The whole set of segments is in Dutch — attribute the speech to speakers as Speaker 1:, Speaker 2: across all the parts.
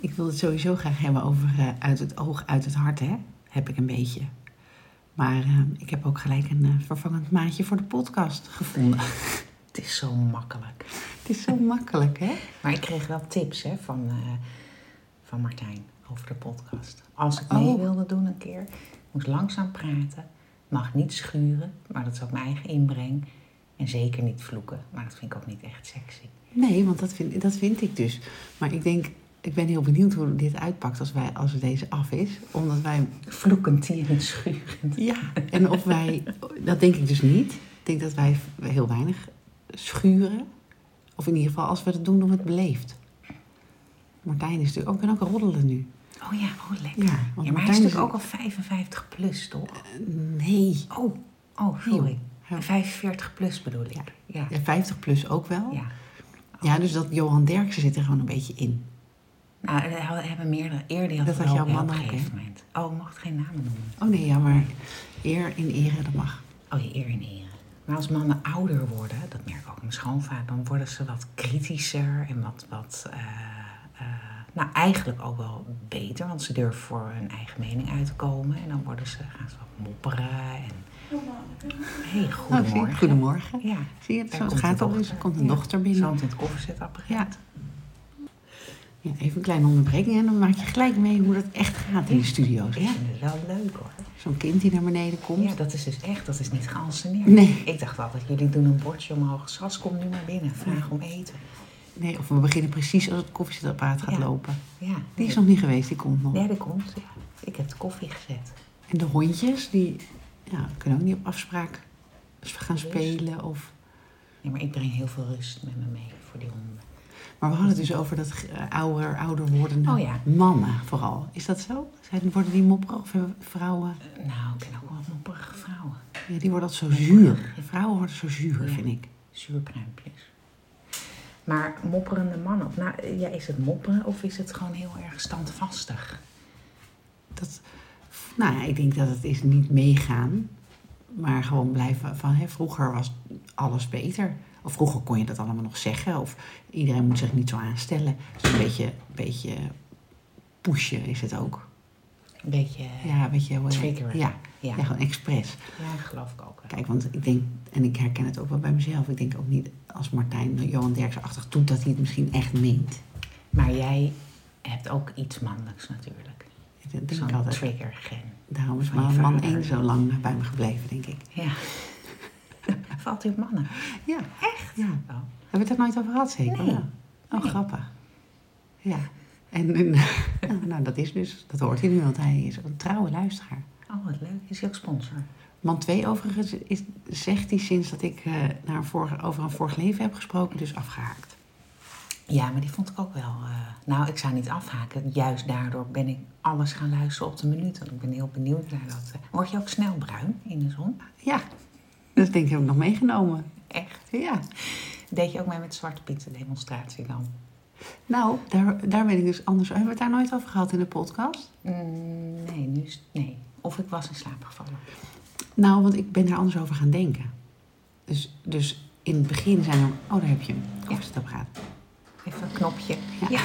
Speaker 1: Ik wil het sowieso graag hebben over eh, uit het oog, uit het hart, hè? Heb ik een beetje. Maar eh, ik heb ook gelijk een eh, vervangend maatje voor de podcast gevonden.
Speaker 2: Het is zo makkelijk.
Speaker 1: het is zo makkelijk, hè?
Speaker 2: Maar ik kreeg wel tips hè, van, eh, van Martijn over de podcast. Als ik mee
Speaker 1: Oh.
Speaker 2: wilde doen een keer, moest langzaam praten, mag niet schuren, maar dat is ook mijn eigen inbreng. En zeker niet vloeken, maar dat vind ik ook niet echt sexy.
Speaker 1: Nee, want dat vind, dat vind ik dus. Maar ik denk, ik ben heel benieuwd hoe dit uitpakt als, wij, als deze af is. Omdat wij
Speaker 2: Vloekend hier en schurend.
Speaker 1: Ja, en of wij, dat denk ik dus niet. Ik denk dat wij heel weinig schuren. Of in ieder geval, als we het doen, doen we het beleefd. Martijn is natuurlijk ook, en ook roddelen nu.
Speaker 2: Oh ja, oh lekker.
Speaker 1: Ja,
Speaker 2: Ja,
Speaker 1: want
Speaker 2: maar hij
Speaker 1: Martijn
Speaker 2: is
Speaker 1: is
Speaker 2: natuurlijk
Speaker 1: een-
Speaker 2: ook al 55 plus, toch?
Speaker 1: Eh, Nee.
Speaker 2: Oh, oh, sorry.
Speaker 1: Ja.
Speaker 2: 45 plus bedoel ik.
Speaker 1: Ja.
Speaker 2: Ja.
Speaker 1: Ja, 50 plus ook wel.
Speaker 2: ja.
Speaker 1: Ja, dus dat Johan Derksen zit er gewoon een beetje in.
Speaker 2: Nou, we hebben meerdere eerder
Speaker 1: Dat had
Speaker 2: wel
Speaker 1: jouw
Speaker 2: op
Speaker 1: man
Speaker 2: een
Speaker 1: ook,
Speaker 2: gegeven
Speaker 1: hè?
Speaker 2: moment. Oh, ik mocht geen namen noemen.
Speaker 1: Oh nee, ja, maar eer in ere, dat mag.
Speaker 2: Oh, je eer in ere. Maar als mannen ouder worden, dat merk ik ook in mijn schoonvader, dan worden ze wat kritischer en wat, wat eh, eh, nou eigenlijk ook wel beter, want ze durven voor hun eigen mening uit te komen. En dan worden ze, gaan ze wat mopperen en...
Speaker 1: Nou, zie
Speaker 2: hey,
Speaker 1: je,
Speaker 2: goedemorgen.
Speaker 1: goedemorgen.
Speaker 2: Oh, Ja,
Speaker 1: Zie je, het,
Speaker 2: daar
Speaker 1: zo het
Speaker 2: komt
Speaker 1: gaat
Speaker 2: de
Speaker 1: al dus.
Speaker 2: dochter.
Speaker 1: Er komt een
Speaker 2: Ja.
Speaker 1: dochter binnen.
Speaker 2: Zand in het koffiezetapparaat.
Speaker 1: Ja. Ja, even een kleine onderbreking en dan maak je gelijk mee hoe dat echt gaat in de studio's.
Speaker 2: Ik
Speaker 1: hè?
Speaker 2: vind het wel leuk hoor.
Speaker 1: Zo'n kind die naar beneden komt.
Speaker 2: Ja, dat is dus echt, dat is niet geanceneerd.
Speaker 1: Nee.
Speaker 2: Ik dacht altijd, jullie doen een bordje omhoog. Sas, kom nu maar binnen, vraag om eten.
Speaker 1: Nee, of we beginnen precies als het koffiezetapparaat gaat
Speaker 2: Ja.
Speaker 1: lopen.
Speaker 2: Ja,
Speaker 1: Die is nog niet geweest, die komt nog.
Speaker 2: Nee, dat komt. Ja. Ik heb de koffie gezet.
Speaker 1: En de hondjes, die ja, kunnen ook niet op afspraak Dus gaan spelen. Of...
Speaker 2: Nee, maar ik breng heel veel rust met me mee voor die honden.
Speaker 1: Maar we hadden het dus over dat eh, ouder, ouder worden.
Speaker 2: Oh ja.
Speaker 1: Mannen vooral. Is dat zo? Zijn, worden die mopperig of hebben vrouwen?
Speaker 2: Eh, Nou, ik ken ook wel mopperige vrouwen.
Speaker 1: Ja, die worden altijd zo zuur. Vrouwen worden zo zuur,
Speaker 2: Ja.
Speaker 1: vind ik.
Speaker 2: Zuurpruimpjes. Maar mopperende mannen, of nou, eh, ja, is het mopperen of is het gewoon heel erg standvastig?
Speaker 1: Dat, nou ja, ik denk dat het is niet meegaan, maar gewoon blijven van hè, vroeger was alles beter. Of vroeger kon je dat allemaal nog zeggen, of iedereen moet zich niet zo aanstellen. Dus een beetje, beetje pushen is het ook.
Speaker 2: Een beetje, eh, ja,
Speaker 1: Ja, een beetje hoe-
Speaker 2: Triggeren.
Speaker 1: Ja, ja.
Speaker 2: Ja.
Speaker 1: gewoon expres.
Speaker 2: geloof ik ook wel.
Speaker 1: Kijk, want ik denk, en ik herken het ook wel bij mezelf, ik denk ook niet als Martijn Johan Derksen-achtig doet dat hij het misschien echt meent.
Speaker 2: Maar jij hebt ook iets mannelijks natuurlijk.
Speaker 1: Dat denk ik
Speaker 2: Zo'n
Speaker 1: altijd.
Speaker 2: triggergen.
Speaker 1: Daarom is
Speaker 2: van je
Speaker 1: mijn man
Speaker 2: vader.
Speaker 1: één zo lang bij me gebleven, denk ik.
Speaker 2: Ja. Valt u op mannen?
Speaker 1: Ja. Echt? Ja.
Speaker 2: Oh.
Speaker 1: Hebben we het er nooit over gehad, zeker?
Speaker 2: Nee.
Speaker 1: Ja. Oh,
Speaker 2: Nee.
Speaker 1: grappig. Ja. En, en nou, nou, dat is dus, dat hoort hij nu, want hij is een trouwe luisteraar.
Speaker 2: Oh, wat leuk. Is hij ook sponsor?
Speaker 1: Man 2 overigens is, zegt hij sinds dat ik eh, naar een vorige, over een vorig leven heb gesproken, dus afgehaakt.
Speaker 2: Ja, maar die vond ik ook wel. eh, nou, ik zou niet afhaken. Juist daardoor ben ik alles gaan luisteren op de minuut. Want ik ben heel benieuwd naar dat. eh, Word je ook snel bruin in de zon?
Speaker 1: Ja, dat denk ik heb ik nog meegenomen.
Speaker 2: Echt?
Speaker 1: Ja,
Speaker 2: Deed je ook mee met Zwarte Piet de demonstratie dan?
Speaker 1: nou, daar, daar ben ik dus anders. Hebben we het daar nooit over gehad in de podcast?
Speaker 2: Mm, nee, nu is nee. Of ik was in slaap gevallen.
Speaker 1: Nou, want ik ben daar anders over gaan denken. Dus, dus in het begin zijn er, oh, daar heb je hem, koffiezetapparaat.
Speaker 2: Even een knopje.
Speaker 1: Ja.
Speaker 2: Ja.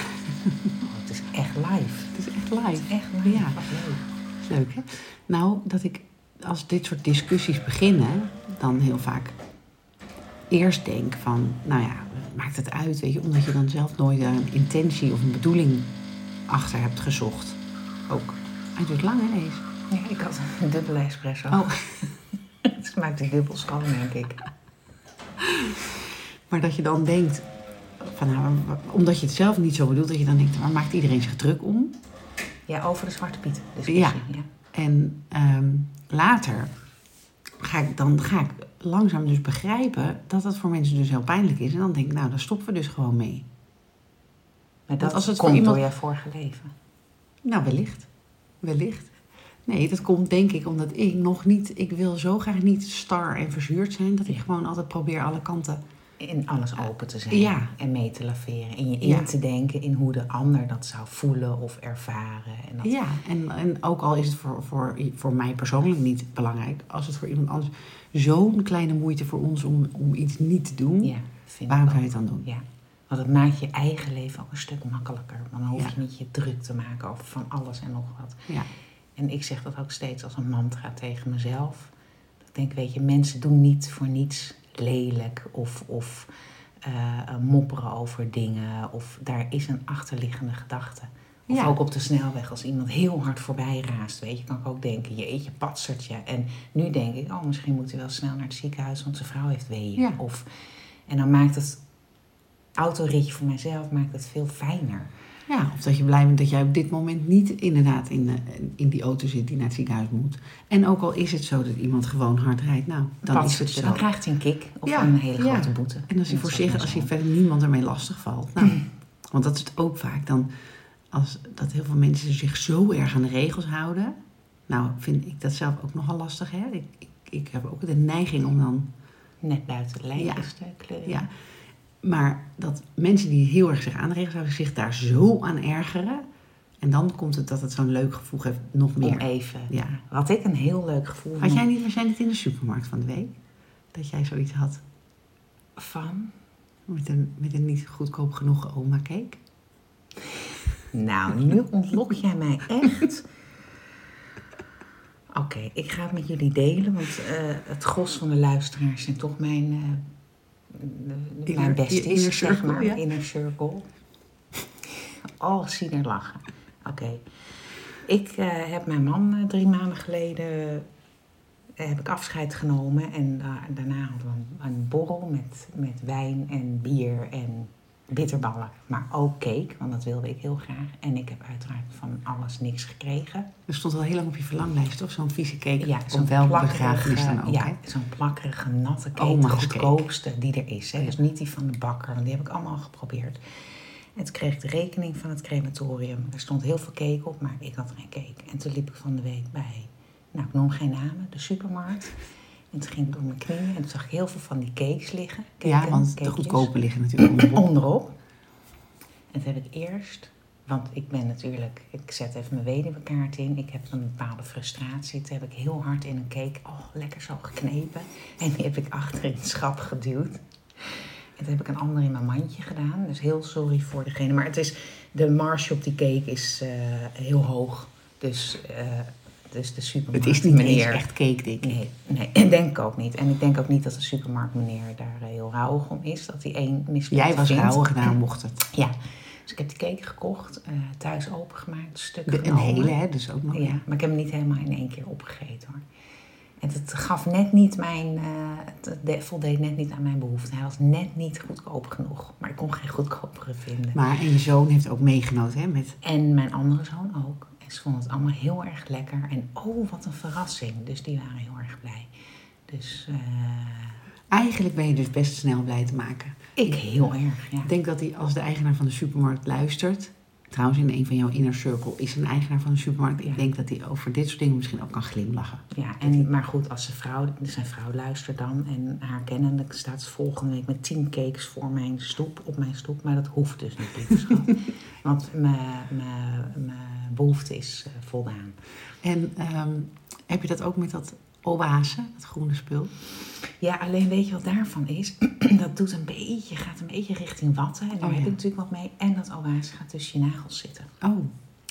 Speaker 2: Oh, het is echt live.
Speaker 1: Het is echt live.
Speaker 2: Echt live.
Speaker 1: Ja.
Speaker 2: Wat leuk.
Speaker 1: Is Leuk, hè? Nou, dat ik als dit soort discussies beginnen, dan heel vaak eerst denk van, nou ja, maakt het uit, weet je, omdat je dan zelf nooit daar een intentie of een bedoeling achter hebt gezocht. Ook. Hij doet lang, hè, deze?
Speaker 2: Ja, ik had een dubbele espresso.
Speaker 1: Oh.
Speaker 2: het smaakt dubbel schoon, denk ik.
Speaker 1: Maar dat je dan denkt, van, nou, w- omdat je het zelf niet zo bedoelt, dat je dan denkt, waar maakt iedereen zich druk om?
Speaker 2: Ja, over de Zwarte Piet discussie.
Speaker 1: Ja.
Speaker 2: Ja.
Speaker 1: En ehm, later ga ik, dan ga ik langzaam dus begrijpen dat dat voor mensen dus heel pijnlijk is. En dan denk ik, nou, daar stoppen we dus gewoon mee.
Speaker 2: Maar dat
Speaker 1: als het voor
Speaker 2: komt
Speaker 1: iemand-
Speaker 2: door jouw vorige leven.
Speaker 1: Nou, wellicht. Wellicht. Nee, dat komt denk ik omdat ik nog niet... Ik wil zo graag niet star en verzuurd zijn... dat ik gewoon altijd probeer alle kanten...
Speaker 2: In alles open te zijn
Speaker 1: Eh, Ja.
Speaker 2: en mee te laveren. En je in
Speaker 1: Ja.
Speaker 2: te denken in hoe de ander dat zou voelen of ervaren. En dat...
Speaker 1: Ja, en, en ook al is het voor, voor, voor mij persoonlijk niet belangrijk... als het voor iemand anders zo'n kleine moeite voor ons om, om iets niet te doen...
Speaker 2: Ja, vind
Speaker 1: waarom
Speaker 2: ik
Speaker 1: zou
Speaker 2: ook.
Speaker 1: je het dan doen?
Speaker 2: Ja. Want dat maakt je eigen leven ook een stuk makkelijker. Want dan hoef
Speaker 1: Ja.
Speaker 2: je niet je druk te maken over van alles en nog wat.
Speaker 1: Ja.
Speaker 2: En ik zeg dat ook steeds als een mantra tegen mezelf. Ik denk, weet je, mensen doen niet voor niets lelijk of, of eh, mopperen over dingen. Of daar is een achterliggende gedachte. Of
Speaker 1: Ja.
Speaker 2: ook op de snelweg, als iemand heel hard voorbij raast, weet je, kan ik ook denken, jeetje, patsertje. En nu denk ik, oh, misschien moet hij wel snel naar het ziekenhuis, want zijn vrouw heeft weeën.
Speaker 1: Ja.
Speaker 2: Of, en dan maakt het autoritje voor mijzelf maakt het veel fijner.
Speaker 1: ja, of dat je blij bent dat jij op dit moment niet inderdaad in, eh, in die auto zit die naar het ziekenhuis moet. En ook al is het zo dat iemand gewoon hard rijdt, nou, dan is het
Speaker 2: Patsertje,
Speaker 1: zo.
Speaker 2: dan krijgt hij een kick of
Speaker 1: Ja,
Speaker 2: een hele
Speaker 1: ja.
Speaker 2: grote boete.
Speaker 1: En als je
Speaker 2: dat
Speaker 1: voorzichtig,
Speaker 2: is
Speaker 1: als
Speaker 2: ook
Speaker 1: je
Speaker 2: best
Speaker 1: verder niemand ermee lastig valt. Nou, want dat is het ook vaak. Dan, als, dat heel veel mensen zich zo erg aan de regels houden. Nou, vind ik dat zelf ook nogal lastig. Hè? Ik, ik, ik heb ook de neiging om dan
Speaker 2: wel Net buiten eh, de lijn
Speaker 1: Ja.
Speaker 2: is de kleur.
Speaker 1: ja. Maar dat mensen die heel erg zich aan de regels houden, zich daar zo aan ergeren. En dan komt het dat het zo'n leuk gevoel heeft, nog
Speaker 2: Om
Speaker 1: meer.
Speaker 2: even.
Speaker 1: Ja.
Speaker 2: Wat ik een heel leuk gevoel
Speaker 1: Had
Speaker 2: vond
Speaker 1: jij niet, was jij niet in de supermarkt van de week? Dat jij zoiets had
Speaker 2: van...
Speaker 1: met een, met een niet goedkoop genoeg oma cake?
Speaker 2: Nou, nu ontlok jij mij echt. Oké, ik ga het met jullie delen, want eh, het gros van de luisteraars zijn toch mijn, eh, de-
Speaker 1: Inner-
Speaker 2: mijn besties,
Speaker 1: inner
Speaker 2: zeg
Speaker 1: circle,
Speaker 2: maar,
Speaker 1: ja.
Speaker 2: inner circle. Oh, zie er lachen. Oké. Ik eh, heb mijn man eh, drie maanden geleden eh, heb ik afscheid genomen en da- daarna hadden we een, een borrel met, met wijn en bier en bitterballen, maar ook cake, want dat wilde ik heel graag. En ik heb uiteraard van alles niks gekregen.
Speaker 1: Er stond al heel lang op je verlanglijst, toch? Zo'n eh, vieze cake.
Speaker 2: Ja,
Speaker 1: op
Speaker 2: zo'n
Speaker 1: welke
Speaker 2: plakkerige-
Speaker 1: begrafenis dan ook.
Speaker 2: Ja,
Speaker 1: hè? Oh,
Speaker 2: zo'n plakkerige, natte cake. de
Speaker 1: Oma's cake.
Speaker 2: goedkoopste die er is. Hè? Dus niet die van de bakker, want die heb ik allemaal geprobeerd. En toen kreeg ik de rekening van het crematorium. Er stond heel veel cake op, maar ik had geen cake. En toen liep ik van de week bij, nou ik noem geen namen, de supermarkt. En toen ging ik door mijn knieën en toen zag ik heel veel van die cakes liggen.
Speaker 1: Ja,
Speaker 2: Caken,
Speaker 1: want de
Speaker 2: cakejes
Speaker 1: goedkope liggen natuurlijk onderop.
Speaker 2: onderop. En dat heb ik eerst, want ik ben natuurlijk, ik zet even mijn weduwekaart in. Ik heb een bepaalde frustratie. Toen heb ik heel hard in een cake, oh, lekker zo geknepen. En die heb ik achter in het schap geduwd. En toen heb ik een ander in mijn mandje gedaan. Dus heel sorry voor degene. Maar het is, de marge op die cake is eh, heel hoog. Dus, eh, dus de supermarkt
Speaker 1: Het is niet eens echt cake, denk ik.
Speaker 2: Nee, nee, en denk ik ook niet. En ik denk ook niet dat de supermarktmeneer daar eh, heel rauwig om is. Dat hij één mislukt
Speaker 1: Jij was
Speaker 2: vindt.
Speaker 1: rauwig, daarom mocht het.
Speaker 2: Ja. Dus ik heb die cake gekocht, eh, thuis opengemaakt, stuk
Speaker 1: De, een
Speaker 2: genomen.
Speaker 1: hele, hè? Dus ook nog.
Speaker 2: Ja, maar ik heb hem niet helemaal in één keer opgegeten hoor. En het gaf net niet mijn, eh, het de- voldeed net niet aan mijn behoefte. Hij was net niet goedkoop genoeg, maar ik kon geen goedkopere vinden.
Speaker 1: Maar en je zoon heeft ook meegenoten, hè? Met
Speaker 2: En mijn andere zoon ook. En ze vonden het allemaal heel erg lekker. En oh, wat een verrassing. Dus die waren heel erg blij. Dus eh,
Speaker 1: Eigenlijk ben je dus best snel blij te maken.
Speaker 2: ik heel erg, ja.
Speaker 1: Ik denk dat hij, als de eigenaar van de supermarkt luistert. Trouwens, in een van jouw inner circle is een eigenaar van de supermarkt.
Speaker 2: Ja.
Speaker 1: Ik denk dat hij over dit soort dingen misschien ook kan glimlachen.
Speaker 2: ja en, maar goed, als zijn vrouw, zijn vrouw luistert dan en haar kennende staat ze volgende week met tien cakes voor mijn stoep, op mijn stoep. Maar dat hoeft dus niet, lieve schat. Want mijn- mijn mijn behoefte is eh, voldaan.
Speaker 1: En ehm, heb je dat ook met dat oase, dat groene spul?
Speaker 2: Ja, alleen weet je wat daarvan is? dat doet een beetje, gaat een beetje richting watten. En daar
Speaker 1: Oh,
Speaker 2: heb
Speaker 1: ja.
Speaker 2: ik natuurlijk wat mee. En dat oase gaat tussen je nagels zitten.
Speaker 1: Oh,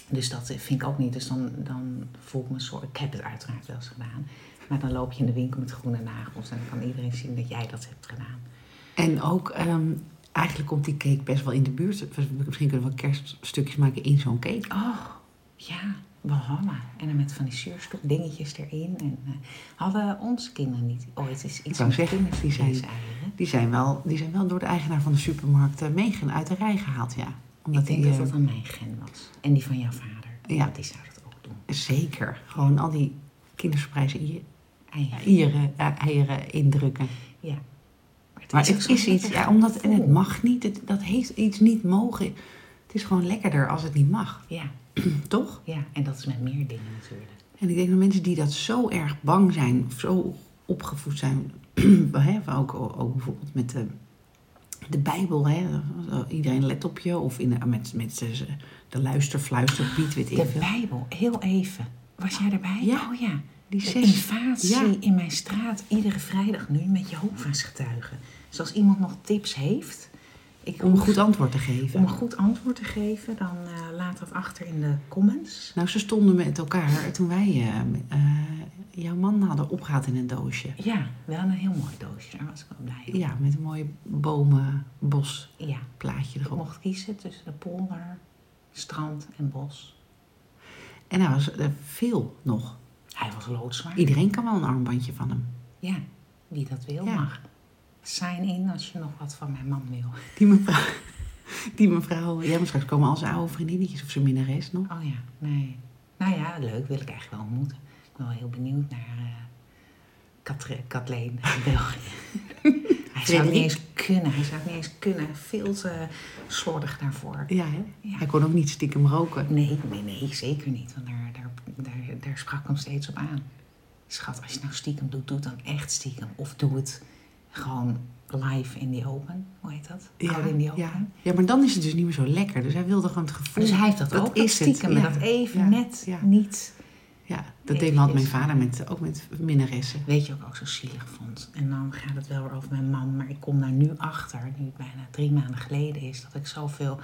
Speaker 2: Dus dat vind ik ook niet. Dus dan, dan voel ik me een soort. Ik heb het uiteraard wel eens gedaan. Maar dan loop je in de winkel met groene nagels. En dan kan iedereen zien dat jij dat hebt gedaan.
Speaker 1: en ook ehm, eigenlijk komt die cake best wel in de buurt. Misschien kunnen we kerststukjes maken in zo'n cake.
Speaker 2: Oh, ja, Walhalla. En dan met van die zuurstof dingetjes erin. En, eh, hadden onze kinderen niet ooit eens iets
Speaker 1: wou
Speaker 2: met
Speaker 1: zeggen, die zijn-
Speaker 2: kindervleeseieren?
Speaker 1: Die zijn wel, die zijn wel door de eigenaar van de supermarkt eh, meegen uit de rij gehaald, ja.
Speaker 2: Ik
Speaker 1: die,
Speaker 2: denk dat
Speaker 1: eh,
Speaker 2: dat dan mijn gen was. En die van jouw vader.
Speaker 1: Ja.
Speaker 2: Want die zou dat ook doen.
Speaker 1: Zeker. Gewoon al die kindersprijzen in
Speaker 2: Eieren.
Speaker 1: eieren, eh, eieren indrukken.
Speaker 2: Ja. Maar het
Speaker 1: Maar
Speaker 2: ook
Speaker 1: het
Speaker 2: zo'n
Speaker 1: is iets,
Speaker 2: lekker
Speaker 1: ja, omdat, en het
Speaker 2: gevoel.
Speaker 1: mag niet, het, dat heeft iets niet mogen. Het is gewoon lekkerder als het niet mag,
Speaker 2: Ja,
Speaker 1: toch?
Speaker 2: ja, en dat is met meer dingen natuurlijk.
Speaker 1: En ik denk dat mensen die dat zo erg bang zijn, of zo opgevoed zijn, hè, van ook, ook bijvoorbeeld met de, de Bijbel, hè, iedereen let op je, of in de, met, met de, de luister, fluister, piet, weet ik
Speaker 2: De
Speaker 1: veel.
Speaker 2: Bijbel, heel even. Was jij erbij?
Speaker 1: Ja.
Speaker 2: Oh ja.
Speaker 1: Die
Speaker 2: De
Speaker 1: zes-
Speaker 2: invasie
Speaker 1: ja.
Speaker 2: in mijn straat iedere vrijdag nu met Jehovah's getuigen. Dus als iemand nog tips heeft, Ik
Speaker 1: Om een
Speaker 2: hoef-
Speaker 1: goed antwoord te geven.
Speaker 2: om een goed antwoord te geven, dan eh, laat dat achter in de comments.
Speaker 1: Nou, ze stonden met elkaar toen wij eh, eh, jouw man hadden opgehaald in een doosje.
Speaker 2: Ja, wel een heel mooi doosje. Daar was ik wel blij om.
Speaker 1: Ja, met een mooi bomenbosplaatje
Speaker 2: ja. Ik
Speaker 1: erop.
Speaker 2: mocht kiezen tussen de polder, strand en bos.
Speaker 1: En daar was eh, veel nog.
Speaker 2: Hij was loodzwaar.
Speaker 1: Iedereen kan wel een armbandje van hem.
Speaker 2: Ja, wie dat wil
Speaker 1: Ja.
Speaker 2: mag. Sign in als je nog wat van mijn man wil.
Speaker 1: Die mevrouw, die mevrouw ja, maar straks komen al zijn oude vriendinnetjes of zijn minnares nog.
Speaker 2: Oh ja, nee. Nou ja, leuk wil ik eigenlijk wel ontmoeten. Ik ben wel heel benieuwd naar eh Katri- Katleen uit België. hij zou het
Speaker 1: Frederik?
Speaker 2: niet eens kunnen. Hij zou het niet eens kunnen. Veel te slordig daarvoor.
Speaker 1: Ja, hè?
Speaker 2: Ja.
Speaker 1: Hij kon ook niet stiekem roken.
Speaker 2: Nee, nee, nee, zeker niet. Want daar, daar, daar, daar sprak ik hem steeds op aan. Schat, als je het nou stiekem doet, doe het dan echt stiekem. Of doe het gewoon live in the open. Hoe heet dat? Out in the open.
Speaker 1: ja. ja, maar dan is het dus niet meer zo lekker. Dus hij wilde gewoon het gevoel.
Speaker 2: Dus hij heeft dat,
Speaker 1: Dat
Speaker 2: ook, dat
Speaker 1: is het,
Speaker 2: stiekem.
Speaker 1: ja.
Speaker 2: Dat even
Speaker 1: Ja,
Speaker 2: net
Speaker 1: ja.
Speaker 2: niet.
Speaker 1: Ja, dat
Speaker 2: Nee,
Speaker 1: deed had
Speaker 2: is-
Speaker 1: mijn vader met, ook met minnaressen.
Speaker 2: Weet je wat ik ook zo zielig vond? En dan gaat het wel weer over mijn man. Maar ik kom daar nu achter, nu het bijna drie maanden geleden is... dat ik zoveel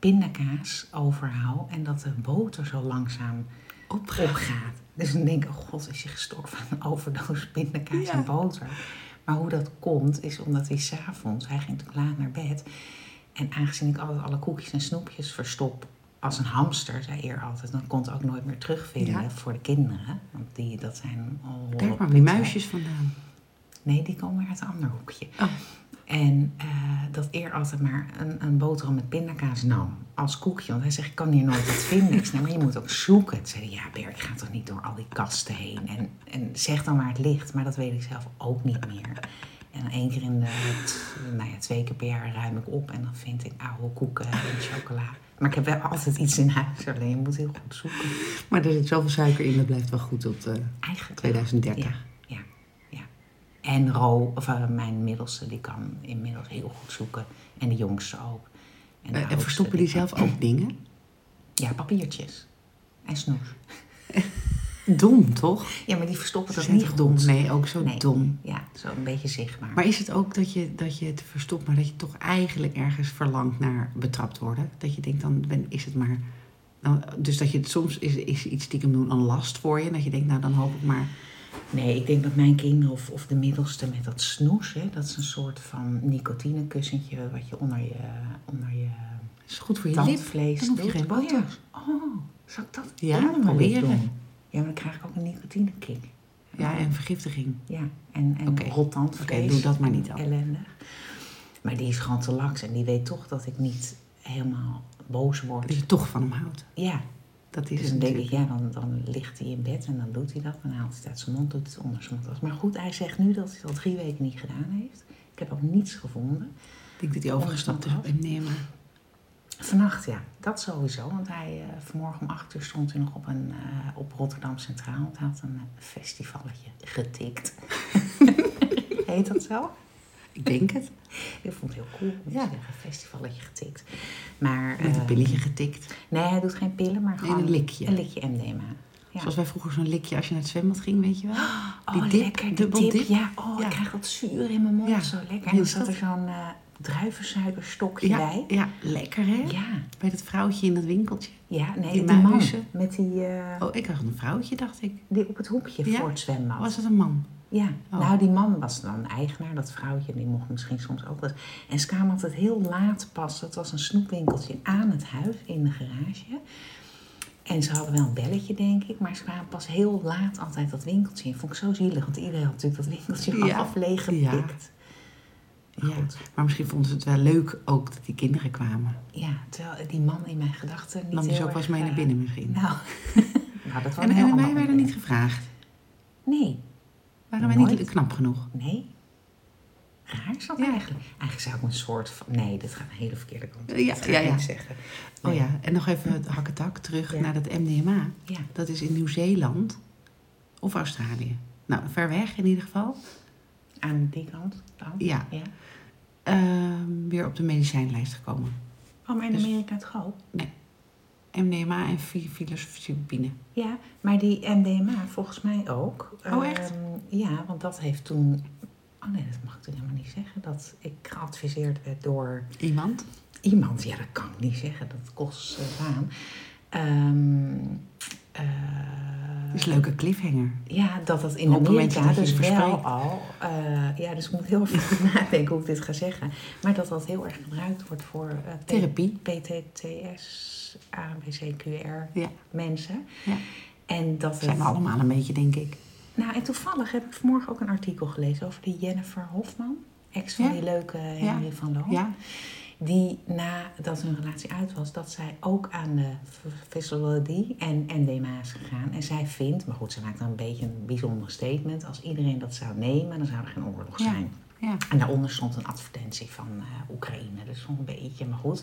Speaker 2: pindakaas overhaal... en dat de boter zo langzaam
Speaker 1: Opgaan.
Speaker 2: opgaat. Dus dan denk ik, oh god, is je gestorven van een overdosis pindakaas
Speaker 1: Ja.
Speaker 2: en boter. Maar hoe dat komt, is omdat hij s'avonds, hij ging natuurlijk laat naar bed. En aangezien ik altijd alle koekjes en snoepjes verstop als een hamster, zei eer altijd, dan kon het ook nooit meer terugvinden
Speaker 1: Ja.
Speaker 2: voor de kinderen. Want die, dat zijn al...
Speaker 1: Daar kwamen die muisjes vandaan.
Speaker 2: Nee, die komen weer uit een ander hoekje.
Speaker 1: Oh.
Speaker 2: En eh, dat eer altijd maar een, een boterham met pindakaas nam. Als koekje. Want hij zegt, ik kan hier nooit wat vinden. Ik zei, maar je moet ook zoeken. Toen zei hij, ja Bert, ik ga toch niet door al die kasten heen. En, en zeg dan waar het ligt. Maar dat weet ik zelf ook niet meer. En dan één keer in de, t- nou ja, twee keer per jaar ruim ik op. En dan vind ik oude koeken en chocola. Maar ik heb wel altijd iets in huis. Alleen je moet heel goed zoeken.
Speaker 1: Maar er zit zoveel suiker in, dat blijft wel goed tot eh,
Speaker 2: Eigenlijk wel.
Speaker 1: 2030.
Speaker 2: Ja, ja, ja. En Ro, of eh, mijn middelste, die kan inmiddels heel goed zoeken. En de jongste ook. de
Speaker 1: Eh,
Speaker 2: oudste,
Speaker 1: en verstoppen die zelf ook dingen?
Speaker 2: Ja, papiertjes. En snoes.
Speaker 1: Dom, toch?
Speaker 2: Ja, maar die verstoppen
Speaker 1: Ze
Speaker 2: dat
Speaker 1: zijn
Speaker 2: niet
Speaker 1: toch dom?
Speaker 2: goed.
Speaker 1: Nee, ook zo
Speaker 2: Nee.
Speaker 1: dom.
Speaker 2: Ja, zo een beetje zichtbaar.
Speaker 1: Maar is het ook dat je, dat je het verstopt, maar dat je toch eigenlijk ergens verlangt naar betrapt worden? Dat je denkt, dan ben, is het maar... Nou, dus dat je het soms is, is iets stiekem doen een last voor je. En dat je denkt, nou dan hoop ik maar...
Speaker 2: Nee, ik denk dat mijn kinderen of, of de middelste met dat snoes, hè, dat is een soort van nicotinekussentje wat je onder je, onder je
Speaker 1: is goed voor je lip.
Speaker 2: tandvlees
Speaker 1: dan hoef je
Speaker 2: doet.
Speaker 1: geen
Speaker 2: Oh ja.
Speaker 1: botox.
Speaker 2: Oh, zal ik dat
Speaker 1: Ja,
Speaker 2: onder mijn lip
Speaker 1: proberen.
Speaker 2: doen? Ja, maar dan krijg ik ook een nicotinekick.
Speaker 1: Ja, en vergiftiging.
Speaker 2: Ja, en, en
Speaker 1: Oké.
Speaker 2: hot tandvlees.
Speaker 1: Oké, doe dat maar niet dan.
Speaker 2: Ellendig. Maar die is gewoon te laks en die weet toch dat ik niet helemaal boos word.
Speaker 1: Dat je toch van hem houdt.
Speaker 2: Ja,
Speaker 1: Dat is
Speaker 2: dus
Speaker 1: het
Speaker 2: dan denk
Speaker 1: natuurlijk.
Speaker 2: ik, ja, dan, dan ligt hij in bed en dan doet hij dat. En dan haalt hij het uit zijn mond, doet het onder zijn mond. Maar goed, hij zegt nu dat hij het al drie weken niet gedaan heeft. Ik heb ook niets gevonden.
Speaker 1: Ik denk dat hij overgestapt is op hem. Nee, maar
Speaker 2: Vannacht, ja, dat sowieso. Want hij eh, vanmorgen om acht uur stond hij nog op, een, eh, op Rotterdam Centraal. Want hij had een eh, festivalletje getikt. Heet dat zo?
Speaker 1: ik denk het.
Speaker 2: Ik vond het heel cool. om te
Speaker 1: Ja.
Speaker 2: zeggen, een festivalletje getikt. Maar,
Speaker 1: Met een
Speaker 2: eh,
Speaker 1: pilletje getikt.
Speaker 2: Nee, hij doet geen pillen, maar gewoon
Speaker 1: een likje.
Speaker 2: Een likje MDMA. Ja.
Speaker 1: Zoals wij vroeger zo'n likje als je naar het zwembad ging, weet je wel?
Speaker 2: oh,
Speaker 1: dip,
Speaker 2: lekker, die
Speaker 1: dubbel
Speaker 2: dip.
Speaker 1: dip.
Speaker 2: Ja, oh,
Speaker 1: Ja.
Speaker 2: ik krijg dat zuur in mijn mond.
Speaker 1: Ja.
Speaker 2: Zo lekker. En
Speaker 1: Heel
Speaker 2: dan zat er
Speaker 1: schattig.
Speaker 2: zo'n eh druivensuikerstokje
Speaker 1: Ja,
Speaker 2: bij.
Speaker 1: ja, lekker hè?
Speaker 2: Ja.
Speaker 1: Bij dat vrouwtje in dat winkeltje.
Speaker 2: Ja, nee,
Speaker 1: Die
Speaker 2: die, man
Speaker 1: muizen.
Speaker 2: met die, eh,
Speaker 1: Oh, ik had een vrouwtje, dacht ik.
Speaker 2: die op het hoekje
Speaker 1: Ja?
Speaker 2: voor het zwembad.
Speaker 1: Was dat een man?
Speaker 2: Ja,
Speaker 1: Oh.
Speaker 2: nou die man was dan eigenaar, dat vrouwtje, die mocht misschien soms ook wel. eens. En ze kwamen altijd heel laat pas, dat was een snoepwinkeltje aan het huis, in de garage. En ze hadden wel een belletje, denk ik, maar ze kwamen pas heel laat altijd dat winkeltje in. Vond ik zo zielig, want iedereen had natuurlijk dat winkeltje
Speaker 1: Ja.
Speaker 2: af leeggepikt.
Speaker 1: Ja.
Speaker 2: Ah, Goed.
Speaker 1: Maar misschien vonden ze het wel leuk ook dat die kinderen kwamen.
Speaker 2: Ja, terwijl die man in mijn gedachten niet
Speaker 1: Nam je
Speaker 2: heel
Speaker 1: ze ook wel
Speaker 2: erg,
Speaker 1: eens mee naar
Speaker 2: eh,
Speaker 1: binnen misschien?
Speaker 2: Nou, nou dat was
Speaker 1: en
Speaker 2: een heel
Speaker 1: en wij
Speaker 2: ander
Speaker 1: werden
Speaker 2: moment.
Speaker 1: niet gevraagd.
Speaker 2: Nee,
Speaker 1: Waren wij
Speaker 2: Nooit.
Speaker 1: niet knap genoeg?
Speaker 2: nee. Raar is dat
Speaker 1: Ja.
Speaker 2: eigenlijk. Eigenlijk zou ik een soort van... Nee, dit gaat een hele verkeerde kant op.
Speaker 1: Ja,
Speaker 2: Dat ga
Speaker 1: ja,
Speaker 2: ik
Speaker 1: ja.
Speaker 2: niet zeggen.
Speaker 1: Oh
Speaker 2: Nee.
Speaker 1: ja, en nog even het hakketak terug
Speaker 2: Ja.
Speaker 1: naar dat MDMA.
Speaker 2: Ja.
Speaker 1: Dat is in Nieuw-Zeeland of Australië. Nou, ver weg in ieder geval.
Speaker 2: Aan die kant dan?
Speaker 1: Ja. Ehm, weer op de medicijnlijst gekomen.
Speaker 2: Oh, maar in
Speaker 1: Dus-
Speaker 2: Amerika het gewoon?
Speaker 1: MDMA en fi- psilocybine.
Speaker 2: Ja, maar die MDMA volgens mij ook.
Speaker 1: Oh, echt?
Speaker 2: Ehm, ja, want dat heeft toen Oh nee, dat mag ik toch helemaal niet zeggen. Dat ik geadviseerd werd door
Speaker 1: Iemand?
Speaker 2: iemand, ja, dat kan ik niet zeggen, dat kost eh, baan. Ehm, eh,
Speaker 1: Dat is een leuke cliffhanger.
Speaker 2: ja, dat dat in
Speaker 1: Op het moment dat
Speaker 2: Amerika
Speaker 1: je
Speaker 2: dus
Speaker 1: het
Speaker 2: wel
Speaker 1: verspreekt.
Speaker 2: al... eh, ja, dus ik moet heel even nadenken hoe ik dit ga zeggen. Maar dat dat heel erg gebruikt wordt voor eh, P-
Speaker 1: Therapie.
Speaker 2: PTTS, ABCQR
Speaker 1: Ja.
Speaker 2: mensen.
Speaker 1: Ja.
Speaker 2: En dat
Speaker 1: Dat zijn we
Speaker 2: het...
Speaker 1: allemaal een beetje, denk ik.
Speaker 2: Nou, en toevallig heb ik vanmorgen ook een artikel gelezen over die Jennifer Hofman. Ex van
Speaker 1: Ja.
Speaker 2: die leuke Henry van Loon
Speaker 1: Ja?
Speaker 2: die nadat hun relatie uit was, dat zij ook aan de v- Visibility en MDMA is gegaan. En zij vindt, maar goed, ze maakt dan een beetje een bijzonder statement. Als iedereen dat zou nemen, dan zou er geen oorlog
Speaker 1: Ja.
Speaker 2: zijn.
Speaker 1: Ja.
Speaker 2: En daaronder stond een advertentie van eh, Oekraïne, dus nog een beetje, maar goed.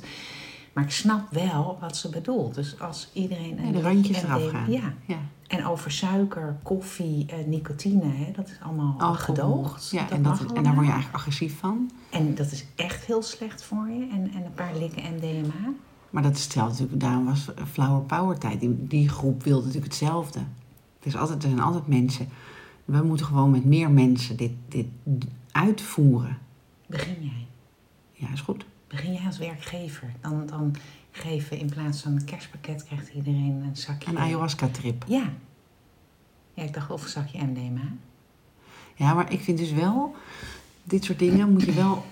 Speaker 2: Maar ik snap wel wat ze bedoelt. Dus als iedereen...
Speaker 1: Ja,
Speaker 2: een
Speaker 1: de
Speaker 2: beetje
Speaker 1: randjes eraf
Speaker 2: MDMA
Speaker 1: gaan.
Speaker 2: Ja,
Speaker 1: Ja.
Speaker 2: en over suiker, koffie, eh, nicotine, hè, dat is allemaal
Speaker 1: Alcohol.
Speaker 2: gedoogd.
Speaker 1: Ja,
Speaker 2: Dat
Speaker 1: en,
Speaker 2: mag
Speaker 1: dat, en daar
Speaker 2: allemaal.
Speaker 1: word je eigenlijk agressief van.
Speaker 2: En dat is echt heel slecht voor je. En, en een paar likken MDMA.
Speaker 1: Maar dat is hetzelfde natuurlijk. Daarom was Flower Power tijd. Die, die groep wilde natuurlijk hetzelfde. Er, is altijd, er zijn altijd mensen. We moeten gewoon met meer mensen dit, dit uitvoeren.
Speaker 2: Begin jij.
Speaker 1: Ja, is goed.
Speaker 2: Begin jij als werkgever. Dan, dan geven in plaats van een kerstpakket krijgt iedereen een zakje.
Speaker 1: Een ayahuasca-trip.
Speaker 2: Ja. Ja, ik dacht of een zakje MDMA.
Speaker 1: Ja, maar ik vind dus wel... Dit soort dingen moet je wel...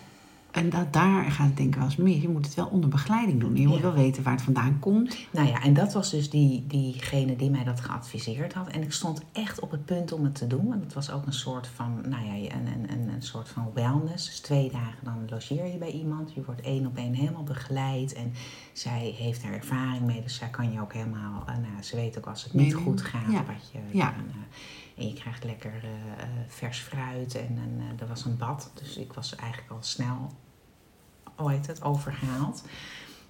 Speaker 1: En dat, daar gaat het denk ik wel eens mis. Je moet het wel onder begeleiding doen. Je moet
Speaker 2: Ja.
Speaker 1: wel weten waar het vandaan komt.
Speaker 2: Nou ja, en dat was dus die, diegene die mij dat geadviseerd had. En ik stond echt op het punt om het te doen. Want het was ook een soort van, nou ja, een, een, een, een soort van wellness. Dus twee dagen dan logeer je bij iemand. Je wordt één op één helemaal begeleid. En zij heeft daar ervaring mee. Dus zij kan je ook helemaal, eh, nou, ze weet ook als het niet
Speaker 1: Meenemen.
Speaker 2: goed gaat.
Speaker 1: Ja.
Speaker 2: Wat je,
Speaker 1: Ja.
Speaker 2: dan, eh, en je krijgt lekker eh, eh, vers fruit. En, een, eh, er was een bad. Dus ik was eigenlijk al snel, hoe heet het, overgehaald.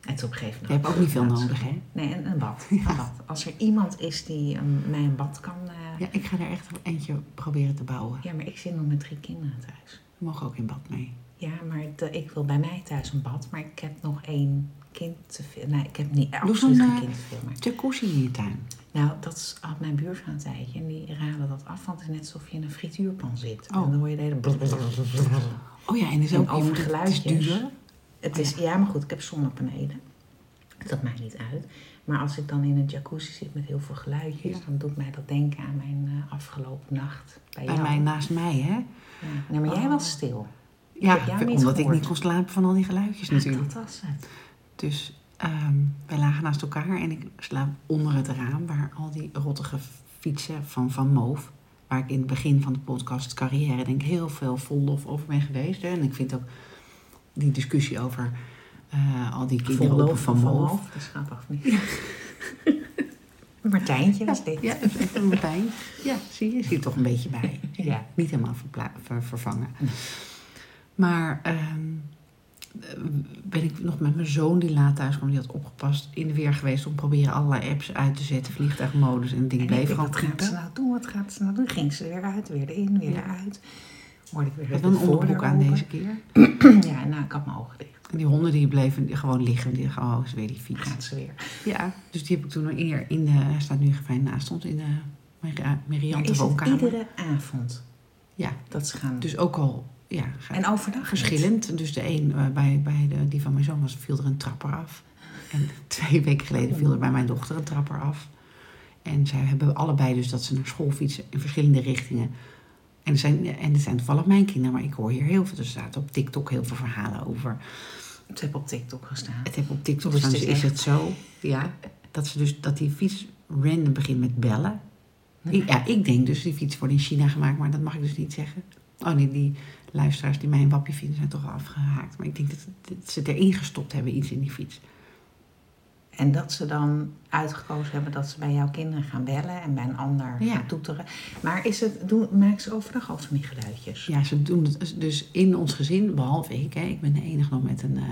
Speaker 2: En toen op een gegeven moment...
Speaker 1: Je hebt ook niet veel nodig, hè?
Speaker 2: Nee, een, een bad. Een bad. Als er iemand is die een- mij een bad kan. eh, ja.
Speaker 1: Ja, ik ga er echt eentje proberen te bouwen.
Speaker 2: maar ik zit nog met drie kinderen thuis.
Speaker 1: We mogen ook in bad mee.
Speaker 2: Ja, maar de- ik wil bij mij thuis een bad, maar ik heb nog één kind te veel. Nee, ik heb niet, absoluut
Speaker 1: zo'n,
Speaker 2: geen
Speaker 1: eh,
Speaker 2: kind te veel. Maar.
Speaker 1: Jacuzzi in je tuin.
Speaker 2: Nou, dat is- had mijn buurvrouw een tijdje en die raadde dat af, want het is net alsof je in een frituurpan zit.
Speaker 1: Oh.
Speaker 2: En dan hoor je de hele.
Speaker 1: Oh ja, en er is
Speaker 2: En
Speaker 1: ook
Speaker 2: over
Speaker 1: over geluidjes. Het is
Speaker 2: geluidjes.
Speaker 1: duur.
Speaker 2: Het is, ja, maar goed, ik heb zonnepanelen. Dus Dat maakt niet uit. Maar als ik dan in een jacuzzi zit met heel veel geluidjes,
Speaker 1: Ja.
Speaker 2: dan doet mij dat denken aan mijn eh, afgelopen nacht bij,
Speaker 1: Bij
Speaker 2: jou.
Speaker 1: mij naast mij, hè?
Speaker 2: Ja. Nee, maar jij
Speaker 1: Oh.
Speaker 2: was stil.
Speaker 1: Ja,
Speaker 2: heb jou
Speaker 1: omdat
Speaker 2: niet
Speaker 1: ik
Speaker 2: gehoord.
Speaker 1: niet kon slapen van al die geluidjes natuurlijk.
Speaker 2: Dat was het.
Speaker 1: Dus ehm, wij lagen naast elkaar en ik slaap onder het raam waar al die rottige fietsen van Van Moof, waar ik in het begin van de podcast carrière denk ik heel veel vol lof over ben geweest. Hè. En ik vind ook die discussie over eh, al die kinderen op een Van Moof.
Speaker 2: Dat is grappig, of niet? Martijntje was dit.
Speaker 1: Ja, dat is echt een Martijn. Ja, zie je, zit er toch een beetje bij.
Speaker 2: Ja.
Speaker 1: Niet helemaal verpla- ver- vervangen. Maar ehm, ben ik nog met mijn zoon die laat thuis kwam, die had opgepast, in de weer geweest om proberen allerlei apps uit te zetten, vliegtuigmodus en het ding
Speaker 2: En
Speaker 1: bleef
Speaker 2: denk,
Speaker 1: gewoon
Speaker 2: wat gaat ze
Speaker 1: kiepen.
Speaker 2: nou doen? Wat gaat ze nou doen? Ging ze weer uit, weer erin, weer eruit. Hoorde ik weer
Speaker 1: Ik had
Speaker 2: eh, de
Speaker 1: een
Speaker 2: voordeur
Speaker 1: onderbroek aan
Speaker 2: open.
Speaker 1: deze keer.
Speaker 2: Ja, nou, ik had mijn ogen dicht.
Speaker 1: En die honden die bleven gewoon liggen. Die dachten, oh, is weer die fiets.
Speaker 2: Gaat ze weer.
Speaker 1: Ja, dus die heb ik toen een eer in de... Hij staat nu gefijn naast ons in de Maria-
Speaker 2: Maar
Speaker 1: Meriante
Speaker 2: is het
Speaker 1: woonkamer.
Speaker 2: iedere avond
Speaker 1: Ja,
Speaker 2: dat ze gaan...
Speaker 1: dus ook al... Ja, ga-
Speaker 2: en overdag niet?
Speaker 1: verschillend. Dus de een, eh, bij, bij de, die van mijn zoon was, viel er een trapper af. En twee weken geleden viel er bij mijn dochter een trapper af. En zij hebben allebei dus dat ze naar school fietsen in verschillende richtingen. En er zijn, en er zijn toevallig mijn kinderen, maar ik hoor hier heel veel. Dus er zaten op TikTok heel veel verhalen over.
Speaker 2: Ze hebben op TikTok gestaan.
Speaker 1: Het heb op TikTok
Speaker 2: Dus
Speaker 1: staan,
Speaker 2: het
Speaker 1: dus
Speaker 2: is
Speaker 1: is
Speaker 2: echt-
Speaker 1: het zo. Ja, dat, ze dus, dat die fiets random begint met bellen. Ik, ja, ik denk dus, die fiets wordt in China gemaakt, maar dat mag ik dus niet zeggen. Oh nee, die luisteraars die mij een wappie vinden zijn toch al afgehaakt. Maar ik denk dat, dat ze erin gestopt hebben, iets in die fiets.
Speaker 2: En dat ze dan uitgekozen hebben dat ze bij jouw kinderen gaan bellen en bij een ander
Speaker 1: Ja.
Speaker 2: gaan toeteren. Maar is het, doen, maken ze overdag al van die geluidjes?
Speaker 1: Ja, ze doen het dus in ons gezin, behalve ik. Hè, ik ben de enige nog met een, eh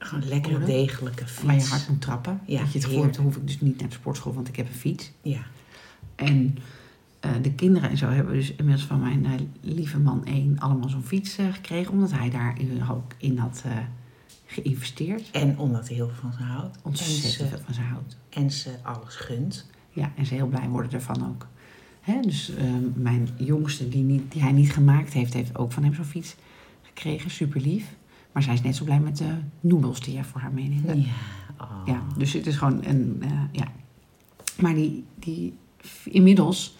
Speaker 2: Gewoon lekkere,
Speaker 1: Horen.
Speaker 2: degelijke fiets.
Speaker 1: waar je hard moet trappen.
Speaker 2: Ja,
Speaker 1: dat je het gevoel hebt, dan hoef ik dus niet naar de sportschool, want ik heb een fiets.
Speaker 2: Ja.
Speaker 1: En eh, de kinderen en zo hebben dus inmiddels van mijn eh, lieve man één allemaal zo'n fiets eh, gekregen. Omdat hij daar in- ook in had eh, geïnvesteerd.
Speaker 2: En omdat hij heel veel van ze houdt. En
Speaker 1: Ontzettend
Speaker 2: ze,
Speaker 1: veel van ze houdt.
Speaker 2: en ze alles gunt.
Speaker 1: Ja, en ze heel blij worden ervan ook. Hè, dus eh, mijn jongste, die, niet, die hij niet gemaakt heeft, heeft ook van hem zo'n fiets gekregen. Super lief. Maar zij is net zo blij met de noemels die hij voor haar meeneemt.
Speaker 2: Ja. Oh.
Speaker 1: Ja, dus het is gewoon een. eh, ja. Maar die, die, inmiddels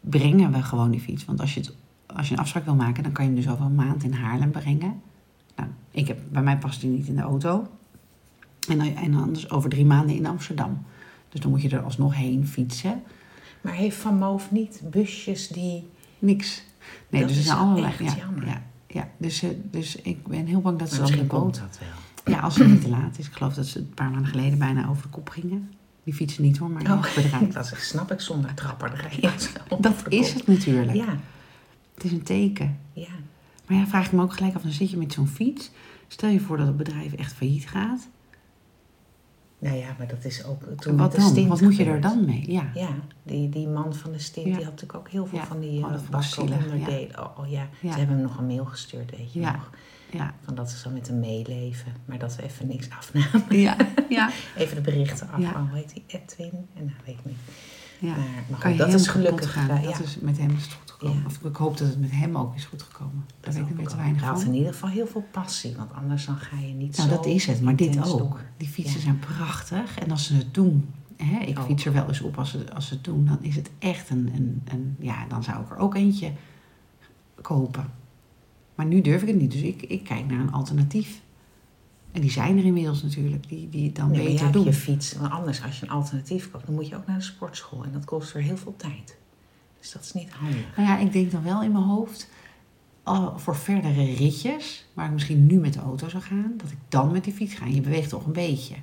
Speaker 1: brengen we gewoon die fiets. Want als je, het, als je een afspraak wil maken, dan kan je hem dus over een maand in Haarlem brengen. Nou, ik heb, bij mij past die niet in de auto. En, dan- en anders over drie maanden in Amsterdam. Dus dan moet je er alsnog heen fietsen.
Speaker 2: Maar heeft Van Moof niet busjes die...
Speaker 1: Niks. Nee,
Speaker 2: Dat
Speaker 1: dus er
Speaker 2: is
Speaker 1: zijn allerlei.
Speaker 2: echt
Speaker 1: ja,
Speaker 2: jammer.
Speaker 1: Ja, ja. Dus, eh, dus ik ben heel bang dat ze
Speaker 2: Maar
Speaker 1: dan de
Speaker 2: misschien
Speaker 1: boot
Speaker 2: komt dat wel.
Speaker 1: Ja, als het niet te laat is. Ik geloof dat ze een paar maanden geleden bijna over de kop gingen. Die fietsen niet hoor, maar
Speaker 2: Oh,
Speaker 1: het bedrijf.
Speaker 2: dat is- snap ik zonder trapper. daar ga je ons wel
Speaker 1: Dat
Speaker 2: over
Speaker 1: is
Speaker 2: kop.
Speaker 1: het natuurlijk.
Speaker 2: Ja,
Speaker 1: Het is een teken.
Speaker 2: ja.
Speaker 1: Maar ja, vraag ik me ook gelijk af, dan zit je met zo'n fiets. Stel je voor dat het bedrijf echt failliet gaat.
Speaker 2: Nou ja, maar dat is ook toen met
Speaker 1: Wat
Speaker 2: de
Speaker 1: dan?
Speaker 2: stint
Speaker 1: Wat moet je er
Speaker 2: gebeurd.
Speaker 1: dan mee? Ja.
Speaker 2: Ja, die, die man van de stint,
Speaker 1: Ja.
Speaker 2: die had natuurlijk ook heel veel
Speaker 1: Ja,
Speaker 2: van die
Speaker 1: oh, dat
Speaker 2: eh,
Speaker 1: vond ik
Speaker 2: bakken
Speaker 1: zielig, ja.
Speaker 2: onderdelen. Oh, oh ja.
Speaker 1: Ja.
Speaker 2: ze hebben hem nog een mail gestuurd, weet je
Speaker 1: Ja.
Speaker 2: nog.
Speaker 1: Ja.
Speaker 2: Van dat ze zo met hem meeleven, maar dat we even niks afnamen.
Speaker 1: Ja. ja.
Speaker 2: Even de berichten af.
Speaker 1: Ja.
Speaker 2: Oh, hoe heet die? Edwin? En nou, weet ik niet.
Speaker 1: ja.
Speaker 2: Maar, maar goed,
Speaker 1: Kan je
Speaker 2: dat is
Speaker 1: helemaal kapot
Speaker 2: gelukkig.
Speaker 1: gaan.
Speaker 2: eh,
Speaker 1: Dat
Speaker 2: ja.
Speaker 1: is met hem is het goed gekomen.
Speaker 2: Ja.
Speaker 1: Of ik hoop dat het met hem ook is goed gekomen. Daar weet
Speaker 2: hoop
Speaker 1: ik weer
Speaker 2: ik
Speaker 1: te
Speaker 2: ook.
Speaker 1: weinig
Speaker 2: Hij had
Speaker 1: van.
Speaker 2: in ieder geval heel veel passie, want anders dan ga je niet
Speaker 1: Nou,
Speaker 2: zo
Speaker 1: dat is het. Maar dit
Speaker 2: intens
Speaker 1: ook.
Speaker 2: door.
Speaker 1: Die fietsen
Speaker 2: Ja.
Speaker 1: zijn prachtig. En als ze het doen, hè, ik
Speaker 2: Oh.
Speaker 1: fiets er wel eens op als ze, als ze het doen, dan is het echt een, een, een. Ja, dan zou ik er ook eentje kopen. Maar nu durf ik het niet. Dus ik, ik kijk naar een alternatief. En die zijn er inmiddels natuurlijk, die, die het dan
Speaker 2: Nee, maar jij
Speaker 1: beter
Speaker 2: hebt
Speaker 1: doen.
Speaker 2: je fiets. Want anders, als je een alternatief koopt, dan moet je ook naar de sportschool. En dat kost weer heel veel tijd. Dus dat is niet handig.
Speaker 1: Nou ja, ik denk dan wel in mijn hoofd. al voor verdere ritjes, waar ik misschien nu met de auto zou gaan, dat ik dan met die fiets ga. En je beweegt toch een beetje.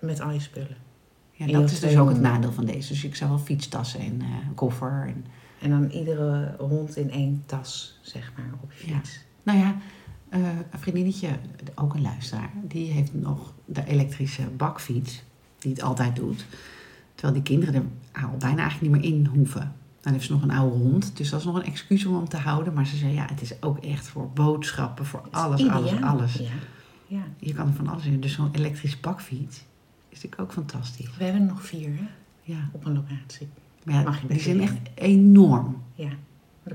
Speaker 2: Met al je spullen.
Speaker 1: Ja,
Speaker 2: En
Speaker 1: dat
Speaker 2: dat
Speaker 1: is
Speaker 2: twee
Speaker 1: dus ook het
Speaker 2: honden.
Speaker 1: nadeel van deze. Dus ik zou wel fietstassen en eh, een koffer. En,
Speaker 2: En dan iedere hond in één tas, zeg maar, op je
Speaker 1: Ja.
Speaker 2: fiets.
Speaker 1: Nou ja, eh, een vriendinnetje, ook een luisteraar, die heeft nog de elektrische bakfiets, die het altijd doet. Terwijl die kinderen er al bijna eigenlijk niet meer in hoeven. Dan heeft ze nog een oude hond, dus dat is nog een excuus om hem te houden. Maar ze zei, ja, het is ook echt voor boodschappen, voor
Speaker 2: Het is
Speaker 1: alles, alles,
Speaker 2: ideaal.
Speaker 1: alles.
Speaker 2: Ja. ja.
Speaker 1: Je kan er van alles in. Dus zo'n elektrische bakfiets is natuurlijk ook fantastisch.
Speaker 2: We hebben er nog vier hè,
Speaker 1: Ja,
Speaker 2: op een locatie.
Speaker 1: maar ja,
Speaker 2: Mag je
Speaker 1: die
Speaker 2: best
Speaker 1: zijn echt
Speaker 2: zeggen.
Speaker 1: enorm.
Speaker 2: Ja. Maar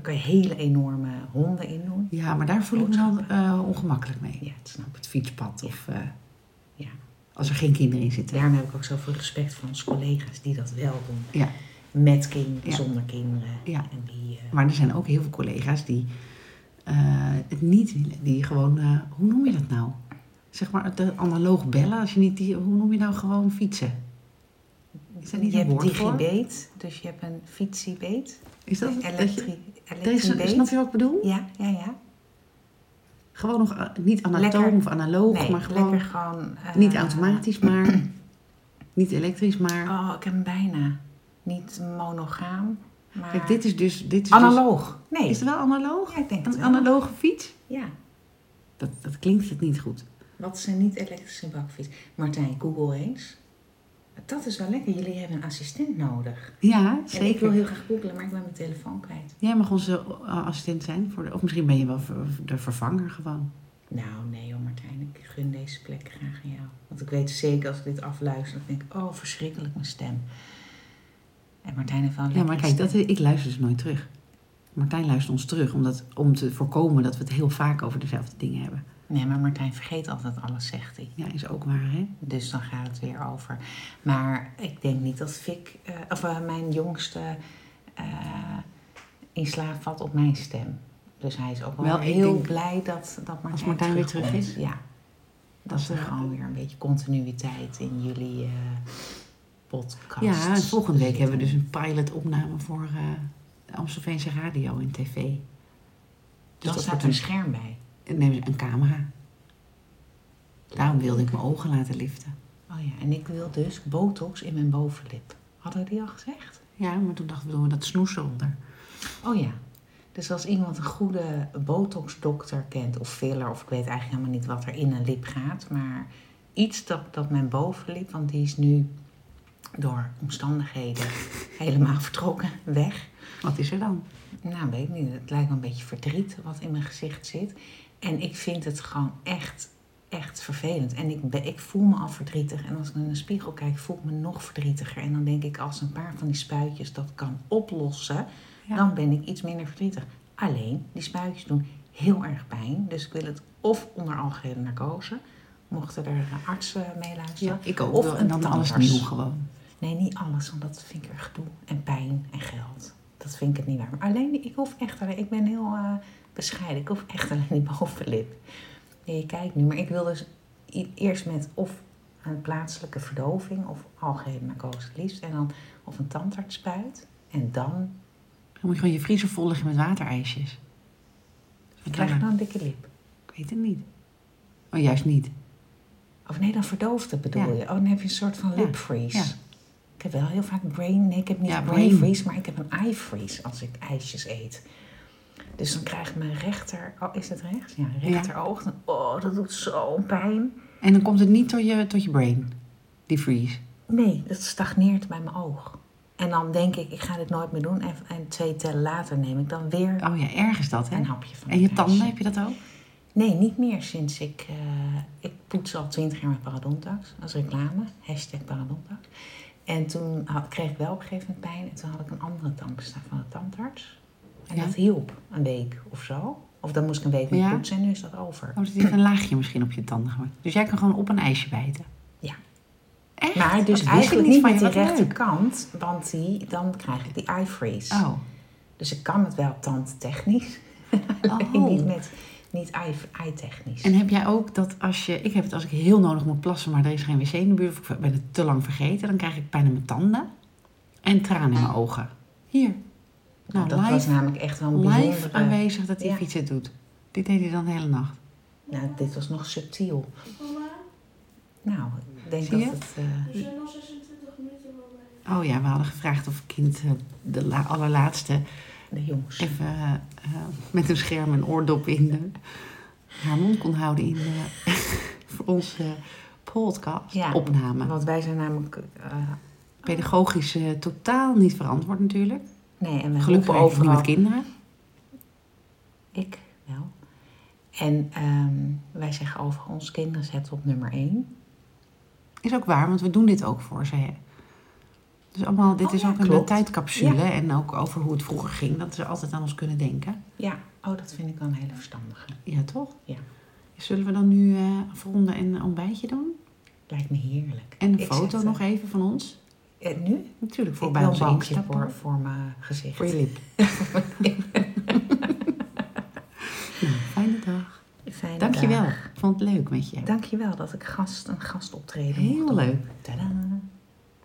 Speaker 2: daar kan je hele enorme honden in doen.
Speaker 1: Ja, maar daar voel ik me wel eh, ongemakkelijk mee.
Speaker 2: Ja, dat snap
Speaker 1: Op
Speaker 2: ik.
Speaker 1: het fietspad of eh,
Speaker 2: Ja.
Speaker 1: als er geen kinderen in zitten.
Speaker 2: Daarom heb ik ook zoveel respect voor onze collega's die dat wel doen.
Speaker 1: Ja.
Speaker 2: Met kinderen,
Speaker 1: Ja.
Speaker 2: zonder kinderen.
Speaker 1: Ja.
Speaker 2: En die, eh,
Speaker 1: Maar er zijn ook heel veel collega's die eh, het niet willen. Die gewoon, eh, hoe noem je dat nou? Zeg maar de analoog bellen, als je niet die, hoe noem je nou gewoon fietsen? Is dat niet
Speaker 2: je
Speaker 1: een
Speaker 2: hebt
Speaker 1: woord voor?
Speaker 2: digibeet, dus je hebt een fietsiebeet.
Speaker 1: Is dat dat je-
Speaker 2: Elektri
Speaker 1: Er is-
Speaker 2: elektriebeet.
Speaker 1: Snap je wat ik bedoel?
Speaker 2: Ja, ja, ja.
Speaker 1: Gewoon nog eh, niet anatoom
Speaker 2: Lekker.
Speaker 1: of analoog,
Speaker 2: Nee,
Speaker 1: maar gewoon
Speaker 2: lekker gewoon... eh,
Speaker 1: niet automatisch, maar niet elektrisch, maar.
Speaker 2: Oh, ik heb hem bijna. Niet monogaam, maar...
Speaker 1: Kijk, dit is dus. Dit is
Speaker 2: Oh, Analoog.
Speaker 1: Dus,
Speaker 2: Nee.
Speaker 1: is het wel analoog?
Speaker 2: Ja, ik denk het
Speaker 1: Een
Speaker 2: wel.
Speaker 1: analoge fiets?
Speaker 2: Ja.
Speaker 1: Dat, dat klinkt het niet goed.
Speaker 2: Wat is een niet-elektrische bakfiets? Martijn, Google eens. Dat is wel lekker. Jullie hebben een assistent nodig.
Speaker 1: Ja,
Speaker 2: En ik wil
Speaker 1: zeker.
Speaker 2: heel graag googlen, maar ik ben mijn telefoon kwijt.
Speaker 1: Jij mag onze eh, assistent zijn, voor de, of misschien ben je wel ver- de vervanger gewoon.
Speaker 2: Nou, nee joh Martijn, ik gun deze plek graag aan jou. Want ik weet zeker als ik dit afluister, dan denk ik, oh verschrikkelijk mijn stem. En Martijn heeft wel een
Speaker 1: Ja, maar
Speaker 2: lekkere
Speaker 1: kijk, dat,
Speaker 2: stem.
Speaker 1: ik luister dus nooit terug. Martijn luistert ons terug omdat, om te voorkomen dat we het heel vaak over dezelfde dingen hebben.
Speaker 2: Nee, maar Martijn vergeet altijd alles, zegt hij.
Speaker 1: Ja, is ook waar, hè?
Speaker 2: Dus dan gaat het weer over. Maar ik denk niet dat Fik, eh, of eh, mijn jongste, eh, in slaap valt op mijn stem. Dus hij is ook wel,
Speaker 1: Wel, ik
Speaker 2: heel
Speaker 1: denk-
Speaker 2: blij dat, dat Martijn,
Speaker 1: Martijn weer terug
Speaker 2: terugkomt.
Speaker 1: is?
Speaker 2: Ja, dat is er
Speaker 1: eh,
Speaker 2: gewoon weer een beetje continuïteit in jullie eh podcast.
Speaker 1: Ja, en volgende week hebben we dus een pilot-opname voor eh Amstelveense Radio en TV. Dus
Speaker 2: Dan
Speaker 1: dat
Speaker 2: staat
Speaker 1: wordt
Speaker 2: er een scherm bij.
Speaker 1: een, neem een camera. Daarom wilde ik mijn ogen laten liften.
Speaker 2: Oh ja, en ik wil dus botox in mijn bovenlip. Hadden we die al gezegd?
Speaker 1: Ja, maar toen dachten we, doen we dat snoes eronder.
Speaker 2: Oh ja. Dus als iemand een goede botox-dokter kent of filler, of ik weet eigenlijk helemaal niet wat er in een lip gaat, maar iets dat, dat mijn bovenlip, want die is nu door omstandigheden helemaal vertrokken, weg.
Speaker 1: Wat is er dan?
Speaker 2: Nou, weet ik niet, het lijkt me een beetje verdriet wat in mijn gezicht zit. En ik vind het gewoon echt, echt vervelend. En ik, ben, ik voel me al verdrietig. En als ik in de spiegel kijk, voel ik me nog verdrietiger. En dan denk ik, als een paar van die spuitjes dat kan oplossen,
Speaker 1: Ja.
Speaker 2: dan ben ik iets minder verdrietig. Alleen, die spuitjes doen heel erg pijn. Dus ik wil het of onder algehele narcose, mochten er eh, artsen mee luisteren.
Speaker 1: ik ook.
Speaker 2: Of
Speaker 1: wel. en
Speaker 2: een
Speaker 1: dan alles
Speaker 2: tandarts.
Speaker 1: nieuw gewoon.
Speaker 2: Nee, niet alles, want dat vind ik erg gedoe. En pijn en geld. Dat vind ik het niet waar. Maar alleen, ik hoef echt alleen, ik ben heel eh, bescheiden. Ik hoef echt alleen die bovenlip. Nee, je kijkt nu. Maar ik wil dus i- eerst met of een plaatselijke verdoving of algehele narcose het liefst. En dan of een tandarts spuit. En dan
Speaker 1: Dan moet je gewoon je vriezer vol leggen met waterijsjes. Wat
Speaker 2: krijg nou- je
Speaker 1: dan?
Speaker 2: dan een dikke lip.
Speaker 1: Ik weet het niet. Oh, juist niet.
Speaker 2: Of nee, dan verdooft het bedoel
Speaker 1: Ja.
Speaker 2: je. Oh, dan heb je een soort van
Speaker 1: Ja.
Speaker 2: lip freeze.
Speaker 1: Ja.
Speaker 2: Ik heb wel heel vaak brain... Nee, ik heb niet
Speaker 1: Ja,
Speaker 2: brain
Speaker 1: brain.
Speaker 2: freeze, maar ik heb een eye freeze als ik ijsjes eet. Dus dan krijgt mijn rechter... Oh, is het rechts? Ja, rechteroog. dan- Oh, dat doet zo'n pijn.
Speaker 1: En dan komt het niet tot je, tot je brain, die freeze.
Speaker 2: Nee, dat stagneert bij mijn oog. En dan denk ik, ik ga dit nooit meer doen. En, en twee tellen later neem ik dan weer
Speaker 1: Oh ja, erg is dat, hè?
Speaker 2: een hapje van
Speaker 1: En je
Speaker 2: het ijsje.
Speaker 1: tanden, heb je dat ook?
Speaker 2: Nee, niet meer sinds ik... eh, ik poets al twintig jaar met parodontax als reclame. Hashtag parodontax. En toen had, kreeg ik wel op een gegeven moment pijn. En toen had ik een andere tandpasta van de tandarts. En
Speaker 1: Ja.
Speaker 2: dat hielp een week of zo. Of dan moest ik een week mee
Speaker 1: Ja.
Speaker 2: poetsen en nu is dat over.
Speaker 1: Oh, er heeft een laagje misschien op je tanden gemaakt. Dus jij kan gewoon op een ijsje bijten.
Speaker 2: Ja.
Speaker 1: Echt?
Speaker 2: Maar
Speaker 1: Dat wist
Speaker 2: dus
Speaker 1: ik
Speaker 2: eigenlijk niet
Speaker 1: van
Speaker 2: met
Speaker 1: je.
Speaker 2: die
Speaker 1: Wat leuk.
Speaker 2: rechterkant, want die, dan krijg ik die eye freeze.
Speaker 1: Oh,
Speaker 2: Dus ik kan het wel tandtechnisch, alleen
Speaker 1: Oh.
Speaker 2: niet met niet eye- eye-technisch.
Speaker 1: en heb jij ook dat als je... Ik heb het als ik heel nodig moet plassen, maar er is geen wc in de buurt... of ik ben het te lang vergeten, dan krijg ik pijn in mijn tanden. En tranen in mijn ogen. Hier.
Speaker 2: Ah.
Speaker 1: Nou,
Speaker 2: nou, dat was
Speaker 1: live,
Speaker 2: namelijk echt wel een
Speaker 1: live
Speaker 2: bijzondere...
Speaker 1: aanwezig dat die
Speaker 2: Ja.
Speaker 1: fiets het doet. Dit deed hij dan de hele nacht.
Speaker 2: Nou, dit was nog subtiel.
Speaker 3: Mama,
Speaker 2: Nou, ik denk
Speaker 1: Zie je?
Speaker 2: dat het... eh,
Speaker 3: er zijn nog 26 minuten voorbij.
Speaker 1: Oh ja, we hadden gevraagd of kind eh, de la- allerlaatste
Speaker 2: de jongens.
Speaker 1: even eh, eh, met een scherm en oordop in eh, haar mond kon houden in eh, voor onze podcast
Speaker 2: Ja.
Speaker 1: opname.
Speaker 2: Want wij zijn namelijk... eh,
Speaker 1: Pedagogisch eh, totaal niet verantwoord natuurlijk.
Speaker 2: nee, en we
Speaker 1: Gelukkig
Speaker 2: roepen
Speaker 1: werk ik niet
Speaker 2: overal...
Speaker 1: met kinderen.
Speaker 2: Ik wel. En ehm, wij zeggen over ons kinderen zet op nummer één.
Speaker 1: Is ook waar, want we doen dit ook voor ze. hè. Dus allemaal, dit
Speaker 2: Oh
Speaker 1: is
Speaker 2: ja,
Speaker 1: ook een
Speaker 2: klopt.
Speaker 1: tijdcapsule en ook over hoe het vroeger ging. Dat ze altijd aan ons kunnen denken.
Speaker 2: Ja, oh, dat vind ik wel een hele verstandige.
Speaker 1: Ja, toch?
Speaker 2: Ja.
Speaker 1: Zullen we dan nu eh, afronden en een ontbijtje doen?
Speaker 2: Lijkt me heerlijk.
Speaker 1: En een
Speaker 2: Ik
Speaker 1: foto
Speaker 2: zet,
Speaker 1: nog
Speaker 2: eh,
Speaker 1: even van ons?
Speaker 2: eh, nu?
Speaker 1: Natuurlijk, voor
Speaker 2: Ik
Speaker 1: bij
Speaker 2: wil
Speaker 1: onze
Speaker 2: een bankje
Speaker 1: Insta.
Speaker 2: voor, voor mijn gezicht.
Speaker 1: Voor je lip. nou, fijne dag.
Speaker 2: Fijne
Speaker 1: Dankjewel.
Speaker 2: dag. eh,
Speaker 1: Ik vond het leuk met je.
Speaker 2: Dankjewel dat ik gast, een gastoptreden mocht
Speaker 1: Heel
Speaker 2: doen.
Speaker 1: leuk.
Speaker 2: Tadaa.